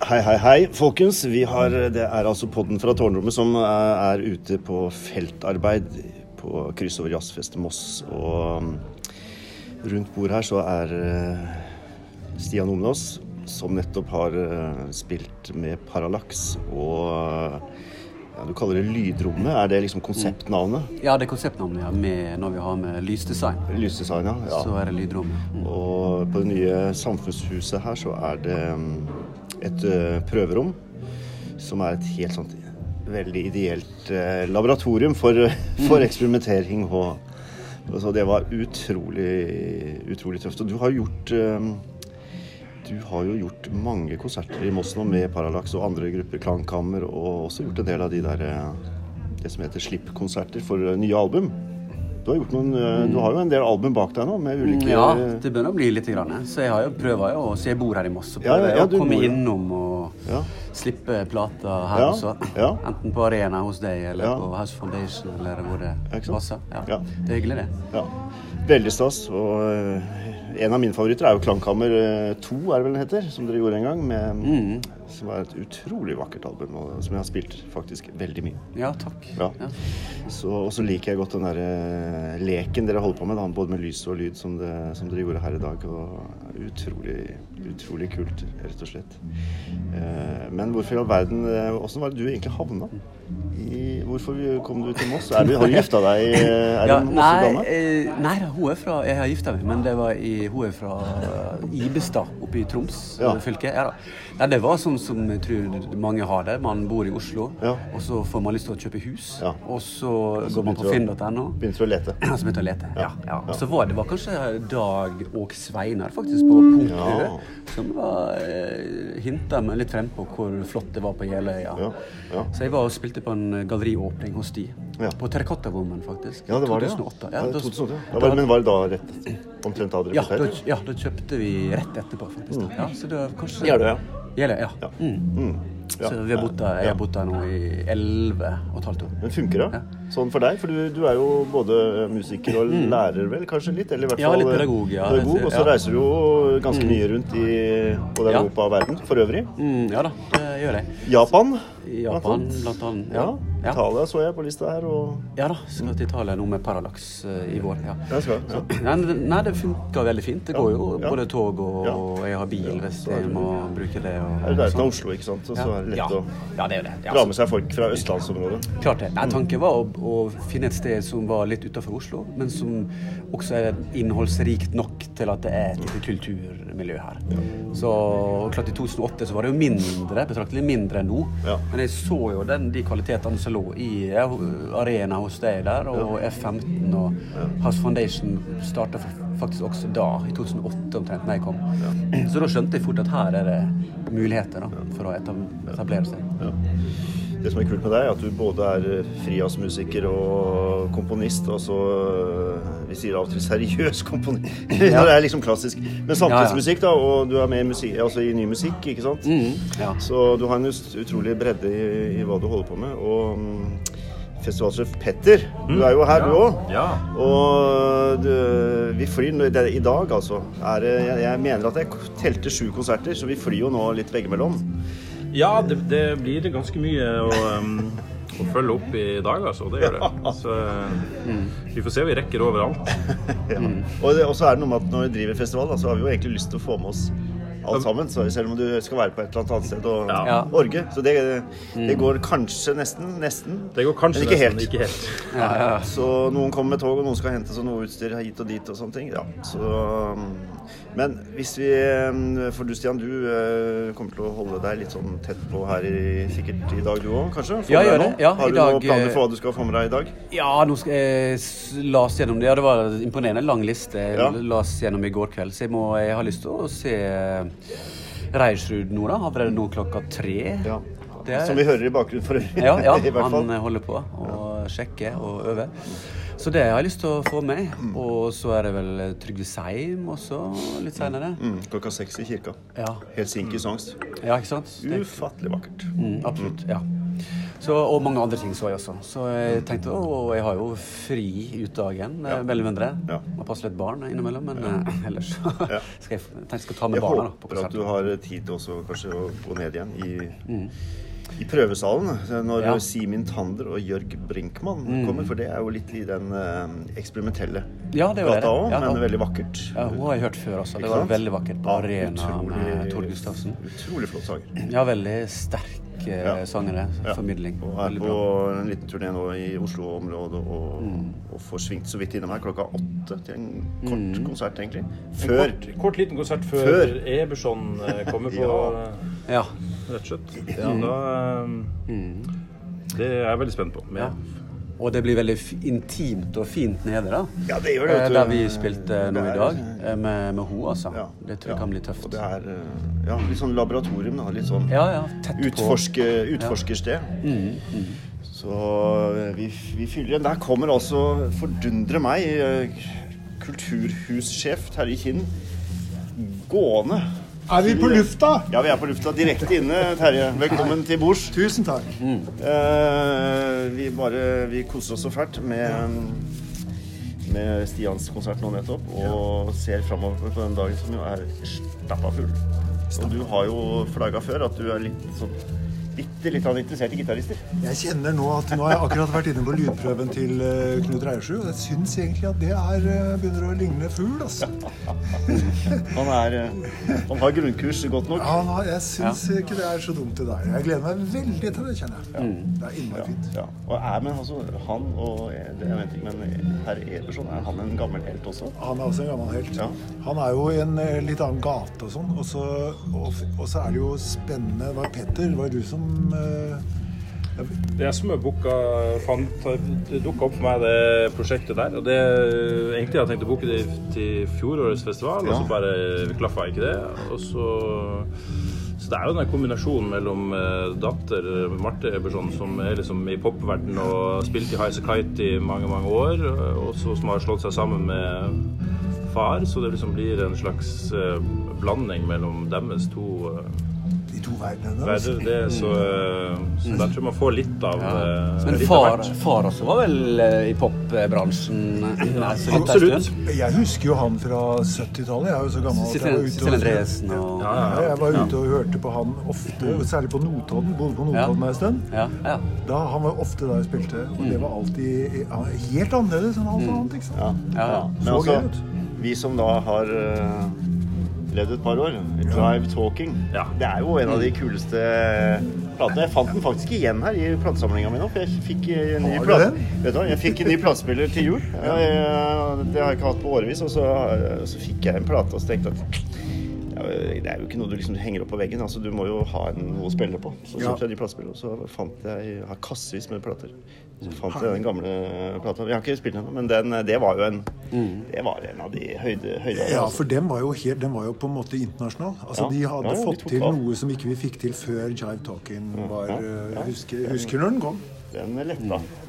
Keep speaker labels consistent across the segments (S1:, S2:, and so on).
S1: Hei, hei, hei, folkens. Vi har, det er altså podden fra Tårnrommet som eh, er ute på feltarbeid på kryss over jazzfestet Moss. Og mm, rundt bordet her så er eh, Stian Omnås, som nettopp har eh, spilt med Parallax og eh, ja, Du kaller det Lydrommet. Er det liksom konseptnavnet?
S2: Ja, det er konseptnavnet ja, med, når vi har med lysdesign.
S1: Lysdesign, ja. Mm,
S2: Så er det lydrommet.
S1: Og på det nye samfunnshuset her så er det mm, et ø, prøverom som er et helt sånt veldig ideelt eh, laboratorium for, for eksperimentering. Og, og så det var utrolig, utrolig tøft. Og du har gjort eh, du har jo gjort mange konserter i Moss nå med Parallax og andre grupper, Klangkammer, og også gjort en del av de der eh, det som heter slippkonserter for eh, nye album. Du har, gjort noen, eh, du har jo en del album bak deg nå med ulike
S2: Ja, det begynner å bli litt. Grann. eh. Så jeg har jo prøver jo, så jeg bor her i Moss, så
S1: Ja, ja,
S2: prøver jeg
S1: ja,
S2: å
S1: du
S2: komme
S1: bor jo.
S2: innom og
S1: Ja.
S2: slippe plater her
S1: Ja,
S2: også.
S1: ja.
S2: Enten på Arena hos deg, eller
S1: Ja.
S2: på House Foundation, eller hvor det
S1: Ikke sant?
S2: passer. Ja.
S1: Ja.
S2: Det er hyggelig, det.
S1: Ja. Veldig stas. Og eh, en av mine favoritter er jo Klangkammer 2, er det vel den heter, som dere gjorde en gang. Med,
S2: Mm.
S1: Som er et utrolig vakkert album, og som jeg har spilt faktisk veldig mye.
S2: Ja, takk.
S1: Ja. Så, og så liker jeg godt den der eh, leken dere holder på med, da, både med lys og lyd, som, det, som dere gjorde her i dag. Og utrolig, utrolig kult, rett og slett. Eh, men hvorfor i all verden eh, Hvordan var det du egentlig havna? I, hvorfor kom du til Moss? Er du, har du gifta deg? eh, Er du
S2: Ja,
S1: en
S2: nei,
S1: Mosse-dame?
S2: eh, nei da, hun er fra Jeg har gifta meg, men det var i, hun er fra eh, Ibestad oppe i Troms
S1: Ja.
S2: eh, fylke. Ja, da. Nei, det var sånn som jeg tror mange har det. Man bor i Oslo,
S1: Ja.
S2: og så får man lyst til å kjøpe hus.
S1: Ja.
S2: Og så går man
S1: begynte
S2: på
S1: du-
S2: finn.no.
S1: Begynte du å lete?
S2: Og så begynte jeg å lete. Ja.
S1: Ja.
S2: ja. Og så var det var kanskje Dag og Sveinar faktisk på Punkt
S1: Ja.
S2: Ø, som var eh, hinta meg litt frem på hvor flott det var på Jeløya.
S1: Ja, ja.
S2: Så jeg var og spilte på en eh, galleriåpning hos de.
S1: Ja.
S2: På Terracotta Woman, faktisk.
S1: Ja, det var det.
S2: 2008.
S1: Ja,
S2: Ja,
S1: Ja,
S2: da-
S1: 2008. Ja, var, men var det da rett omtrent da dere
S2: ja,
S1: ble
S2: da,
S1: født?
S2: ja, da kjøpte vi rett etterpå, faktisk.
S1: Mm.
S2: da. Ja, så det var kanskje
S1: Jeløya.
S2: Jeløya, ja. Mm.
S1: Ja.
S2: Så vi har bodd der, jeg har bodd der nå i 11 og et halvt år.
S1: Men funker det? Sånn for deg? For du, du er jo både musiker og lærer, vel, kanskje litt? Eller i hvert
S2: Mm. Ja,
S1: fall
S2: litt
S1: eh,
S2: pedagog, ja.
S1: pedagog, og så
S2: Ja. Mm.
S1: reiser du jo ganske mye rundt i både
S2: Ja.
S1: Europa og verden for øvrig.
S2: Mm, ja da, det gjør jeg.
S1: Japan.
S2: I Japan, blant annet.
S1: Ja. Italia så jeg på lista her, og
S2: Ja da, skal til Italia nå med Parallax eh, i vår. Ja.
S1: Jeg skal, ja.
S2: Nei, men- nei, det funker veldig fint. Det går jo
S1: ja.
S2: både tog og,
S1: Ja.
S2: og jeg har bil hvis
S1: så er
S2: jeg
S1: du-
S2: må bruke det. Og,
S1: er det der
S2: sånn.
S1: uten Oslo, ikke sant? Og så er det lett
S2: ja.
S1: å
S2: ja, det er jo det. Ja,
S1: dra
S2: så-
S1: med seg folk fra østlandsområdet.
S2: klart det. Nei, tanken var å, å finne et sted som var litt utenfor Oslo, men som også er innholdsrikt nok til at det er et lite kulturmiljø her. Så og klart i 2008 så var det jo mindre, betraktelig mindre enn nå.
S1: Ja.
S2: Men jeg så jo den, de kvalitetene som lå i ja, arena hos deg der, og F15 og House Foundation starta faktisk også da, i 2008 omtrent, da jeg kom. Så da skjønte jeg fort at her er det muligheter da, for å etab- etablere seg.
S1: Det som er kult med deg, er at du både er eh, frijazzmusiker og komponist. Og så eh, Vi sier av og til seriøs komponist. det er liksom klassisk. Men samtidsmusikk, da. Og du er med i, musi- altså i ny musikk, ikke sant?
S3: Mm.
S2: ja.
S1: Så du har en ut- utrolig bredde i, i hva du holder på med. Og mm, festivalsjef Petter, du er jo her, du òg.
S3: Mm. Ja.
S1: Og du, vi flyr nå- det, i dag, altså. Er, det- jeg, jeg mener at jeg k- telte sju konserter, så vi flyr jo nå litt veggimellom.
S3: Ja, det, det blir det ganske mye å, um, å følge opp i dag, altså. Det gjør det. Så um, vi får se. Vi rekker overalt.
S1: Ja. Og, det, og så er det noe med at når vi driver festival, da, så har vi jo egentlig lyst til å få med oss alt sammen. Så selv om du skal være på et eller annet annet sted og
S3: Ja.
S1: orge. Så det, det
S2: Mm.
S1: går kanskje nesten. Nesten.
S3: Det går kanskje
S1: Men ikke helt.
S3: nesten ikke helt.
S1: Så noen kommer med tog, og noen skal hente seg noe utstyr hit og dit og sånne ting. Ja. Så, mm, men hvis vi mm, For du Stian, du eh, kommer til å holde deg litt sånn tett på her i, sikkert i dag du òg, kanskje? Får
S2: Ja,
S1: du deg
S2: gjør det.
S1: noe?
S2: Ja, i
S1: har du
S2: dag,
S1: noen planer
S2: eh,
S1: for hva du skal få med deg i dag?
S2: Ja, nå skal jeg s- la oss gjennom det. Ja, det var en imponerende lang liste jeg
S1: Ja.
S2: la oss gjennom i går kveld, så jeg, må, jeg har lyst til å se Reirsrud nå, da. Allerede nå klokka tre.
S1: Ja.
S2: Det er-
S1: Som vi hører i bakgrunnen for øvrig.
S2: Ja, ja
S1: I hvert
S2: han
S1: fall.
S2: eh, holder på og sjekker og øver. Så det har jeg lyst til å få med.
S1: Mm.
S2: Og så er det vel eh, Trygve Seim også litt seinere.
S1: Mm, klokka seks i kirka.
S2: Ja.
S1: Helsinkis angst.
S2: ja, ikke sant? Det,
S1: Ufattelig vakkert.
S2: mm, absolutt. Ja. Så, og mange andre ting så jeg også. Så jeg tenkte å, jeg har jo fri ut dagen, eh, veldig mindre.
S1: Ja.
S2: Må passe litt barn innimellom, men eh, ellers så skal jeg, tenkte jeg skulle ta
S1: Jeg
S2: med barna da, på
S1: håper at
S2: konsert.
S1: du har tid til også kanskje å gå ned igjen i, i prøvesalen. Når
S2: Mm. Ja. Mm.
S1: Simin Tander og Jørg Brinkmann kommer. For det er jo litt i den eh, eksperimentelle
S2: Ja, det er jo det.
S1: gata òg,
S2: Ja,
S1: men
S2: da-
S1: veldig vakkert.
S2: Ja, hun har jeg hørt før også. Det
S1: Ikke
S2: var
S1: sant?
S2: veldig vakkert på
S1: Ja,
S2: Arena med
S1: utrolig-
S2: Tord Gustavsen.
S1: Utrolig flott sanger.
S2: Ja, veldig sterk eh, sangere. Formidling.
S1: Og er
S2: Veldig
S1: på
S2: bra. Mm.
S1: en liten turné nå i Oslo-området og, og får svingt så vidt innom her klokka åtte til en kort
S2: Mm.
S1: konsert, egentlig. Før
S3: Kort, kort liten konsert før,
S1: Før.
S3: Eberson eh, kommer på,
S1: Ja.
S3: eh,
S2: Ja.
S3: rett og slett. Så da, eh,
S1: Mm.
S3: det er jeg veldig spent på. Men
S2: ja. Og det blir veldig f- intimt og fint nede, da.
S1: Ja, det gjør det, vet
S2: Eh,
S1: du.
S2: Der vi spilte nå
S1: Det
S2: i
S1: er-
S2: dag, eh, med, med hun, altså.
S1: ja,
S2: Det tror jeg
S1: ja.
S2: kan bli tøft.
S1: Og det er eh, ja, litt sånn laboratorium, da. Litt sånn
S2: Ja, Mm, ja. Tett på.
S1: Utforske, utforskersted. Så eh, vi, vi fyller igjen. Der kommer altså, fordundre meg, eh, kulturhussjef Terje Kinn gående.
S4: Er vi på lufta?
S1: Ja, vi er på lufta direkte inne, Terje. Velkommen til bords.
S4: Tusen takk.
S1: Eh, vi bare Vi koser oss så fælt med med Stians konsert nå nettopp, og ser framover på den dagen som jo er stappa full. Og du har jo flagga før at du er litt sånn bitte litt av interessert i gitarister.
S4: Jeg kjenner nå at nå har jeg akkurat vært inne på lydprøven til eh, Knut Reiersrud, og jeg syns egentlig at det er, eh, begynner å ligne fugl. Altså.
S1: Han, er, eh, han har grunnkurs godt nok.
S4: Ja, nå, jeg syns ikke det er så dumt det der. Jeg gleder meg veldig til det, kjenner jeg. Det er innmari fint.
S1: Ja. Og er, men altså, han og eh, det- jeg vet ikke, men herr Eberson, er han en gammel helt også?
S4: Han er også en gammel helt.
S1: Ja.
S4: Han er jo i en eh, litt annen gate og sånn. Og så, og, f- og så er det jo spennende Det var Petter, var det du som eh,
S3: Det er jeg som har booka fant, Det dukka opp for meg det prosjektet der. Og det egentlig hadde jeg tenkt å booke det til fjorårets festival, og
S1: Ja.
S3: så bare klaffa ikke det. Og så så det er jo den der kombinasjonen mellom eh, datter Marte Eberson, som er liksom i popverden og spilte i Highasakite Kite i mange, mange år, og så som har slått seg sammen med far, så det liksom blir en slags eh, blanding mellom deres to eh,
S4: De to verdenene. altså.
S3: verdener. Det, så, eh, så der tror jeg man får litt av eh,
S2: Men
S3: litt av
S2: far,
S3: hvert.
S2: far også var vel eh, i popbransjen? eh, så vidt jeg
S3: Absolutt.
S2: vet.
S4: Jeg husker jo han fra 70-tallet. Jeg er jo så gammel at jeg var
S2: Sissel
S4: ute
S2: Sissel
S4: og
S2: Andresen og
S3: Ja,
S4: Ja,
S3: ja, ja.
S4: jeg var ute og hørte på han ofte, og særlig på Notodden. Bodde på Notodden en stund.
S2: Ja, ja.
S4: Da, han var ofte der jeg spilte, og det var alltid ja, helt annerledes enn alt annet. ikke sant?
S1: Mm. Ja.
S2: ja.
S1: Men
S4: Så
S1: altså,
S4: gøy ut.
S1: vi som da har eh, levd et par år, Drive Talking,
S3: Ja.
S1: det er jo en av de kuleste platene. Jeg fant den faktisk igjen her i platesamlinga mi nå, for jeg fikk eh, en ny
S4: Har du
S1: plate.
S4: den?
S1: Vet du hva, jeg fikk en ny platespiller til jul. Jeg, det har jeg ikke hatt på årevis, og så, eh, så fikk jeg en plate og så tenkte jeg at ja, det er jo ikke noe du liksom henger opp på veggen. altså Du må jo ha en, noe å spille på. Så
S4: Ja.
S1: kjøpte jeg de platespillene, og så fant jeg jeg har kassevis med plater. Så fant jeg den gamle plata. Jeg har ikke spilt den ennå, men den, eh, det var jo en Det var en av de høyde, altså. høyde
S4: Ja, for den var jo, helt, den var jo på en måte internasjonal. Altså,
S1: Ja.
S4: De
S1: Ja,
S4: hadde
S1: ja, de
S4: fått
S1: tok
S4: til
S1: av. Mm.
S4: noe som ikke vi fikk til før Jive Talking var
S1: ja,
S4: eh,
S1: ja.
S4: Husker, husker når den kom.
S1: Den letta.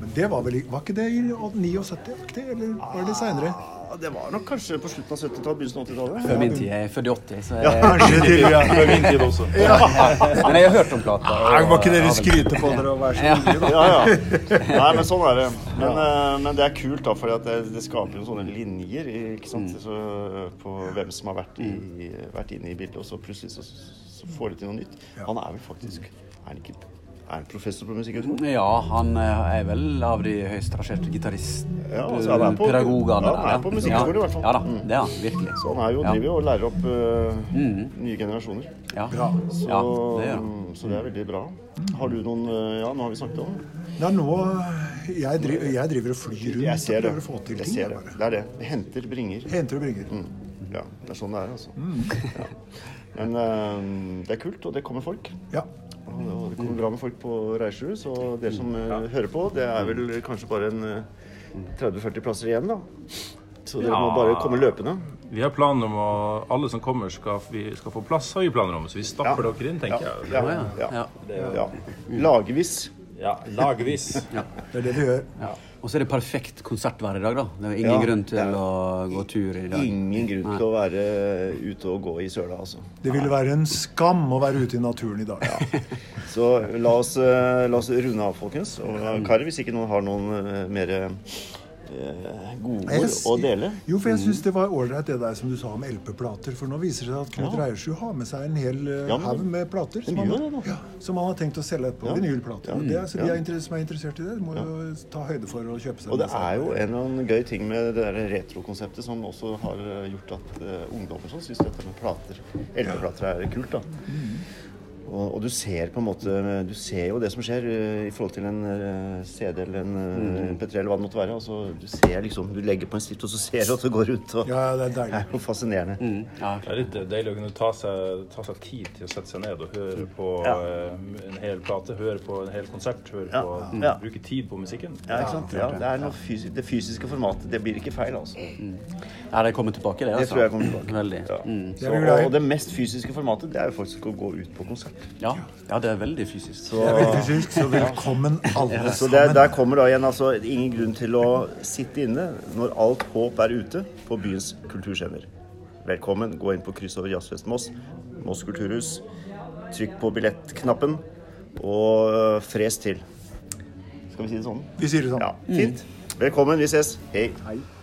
S4: Men det var vel i- Var ikke det i 79-aktig, eller var det seinere?
S1: Ja, det var nok kanskje på slutten av 70-tallet, begynnelsen av 80-tallet.
S2: Før min tid. Jeg er født i 80, så jeg,
S4: Kanskje til ja.
S3: Før min tid også.
S2: Men jeg har hørt om plata. og-
S4: Nei, Var
S2: ja,
S4: ikke dere
S2: vel.
S4: skryte på dere og være så nye, da?
S1: Ja, ja. Nei, men sånn er det. Men, eh, men det er kult, da, for det, det skaper jo sånne linjer ikke sant? Så, eh, på hvem som har vært, i, vært inne i bildet, og så plutselig så, så får de til noe nytt. Han er vel faktisk Er han ikke er han professor på musikkhøgskolen?
S2: Ja, han eh, er vel av de høyest rangerte gitaristpedagogene.
S1: Ja, altså, han er på- ja, han er på musikkskolen i hvert fall.
S2: Ja da, det er han virkelig.
S1: Så han Sånn er jo,
S2: Ja.
S1: driver jo og lærer opp eh, nye generasjoner.
S2: Ja,
S4: Bra.
S1: Så,
S2: ja det gjør han.
S1: mm, så det er veldig bra. Har du noen eh, Ja, nå har vi snakket om det.
S4: Nei, nå Jeg, dri jeg driver og flyr rundt
S1: Jeg ser det.
S4: og prøver å få til
S1: Jeg
S4: ting.
S1: ser
S4: jeg
S1: det. Mm.
S4: bare.
S1: det er det. Henter, bringer.
S4: Henter og bringer.
S1: Ja, det er sånn det er, altså. Ja. Men eh, det er kult, og det kommer folk.
S4: Ja.
S1: Og og det kommer bra med folk på Reisjur, så dere som eh, hører på, det er vel kanskje bare en eh, 30-40 plasser igjen, da. Så dere må
S3: Ja.
S1: bare komme løpende.
S3: Vi har planer om å Alle som kommer, skal, vi skal få plass, har vi planer om. Så vi stapper dere inn, tenker jeg.
S1: Ja,
S2: Ja, ja.
S1: ja. ja. Lagvis.
S3: Ja, lagvis.
S4: Det er det vi gjør.
S2: Og så er det perfekt konsertvær i dag, da. Det er ingen
S1: Ja,
S2: grunn til
S1: det er-
S2: å gå tur i dag.
S1: Ingen grunn til å være ute og gå i søla, altså.
S4: Det ville være en skam å være ute i naturen i dag.
S1: Så la oss, eh, la oss runde av, folkens. Og eh, Kari, hvis ikke noen har noen eh, mer eh, gode
S4: Jeg
S1: ord
S4: s-
S1: å dele
S4: Jo, for jeg syns det var ålreit det der som du sa om LP-plater. For nå viser det seg at Knut Reiersrud har med seg en hel eh,
S1: Ja, men-
S4: haug med plater. Som
S1: gjør
S4: han,
S1: det nå.
S4: ja, som han har tenkt å selge etterpå.
S1: Ja.
S4: Vinylplater. Og Det, er- så de
S1: Ja.
S4: er inter- som er interessert i det, må jo ta høyde for å kjøpe seg
S1: Og det
S4: disse.
S1: er jo en eller annen gøy ting med det der retrokonseptet som også har eh, gjort at eh, ungdommer sånn syns dette med plater, LP-plater, er kult, da. Og, og du ser på en måte Du ser jo det som skjer eh, i forhold til en eh, CD eller en eh, MP3 eller hva det måtte være. Altså, du ser liksom Du legger på en stift, og så ser du at det går rundt. Og,
S4: Ja, det er
S1: det
S4: deilig.
S1: er jo fascinerende.
S2: Ja,
S3: Det er litt deilig å kunne ta seg, ta seg tid til å sette seg ned og høre på
S1: Ja.
S3: eh, en hel plate, høre på en hel konsert, høre
S1: Ja.
S3: på,
S1: Ja.
S3: bruke tid på musikken.
S1: Ja, ikke sant? Ja, det, er noe fysi det fysiske formatet. Det blir ikke feil, altså.
S2: Ja, det kommer tilbake,
S1: Det
S2: det. Altså.
S1: tror jeg kommer tilbake.
S2: Veldig.
S1: Ja.
S2: Mm.
S1: Så,
S4: Jeg blir glad i-
S1: og det mest fysiske formatet, det er jo faktisk å gå ut på konsert.
S2: Ja. ja, det er veldig fysisk.
S1: Så,
S4: Det er veldig fysisk, så velkommen alle
S1: så der,
S4: sammen.
S1: der kommer da igjen altså ingen grunn til å sitte inne når alt håp er ute på byens kulturscener. Velkommen. Gå inn på kryss over Jazzfest Moss, Moss kulturhus. Trykk på billettknappen, og øh, fres til. Skal vi si det sånn?
S4: Vi sier det sånn.
S2: Mm.
S1: Ja, fint. Velkommen. Vi ses. Hei.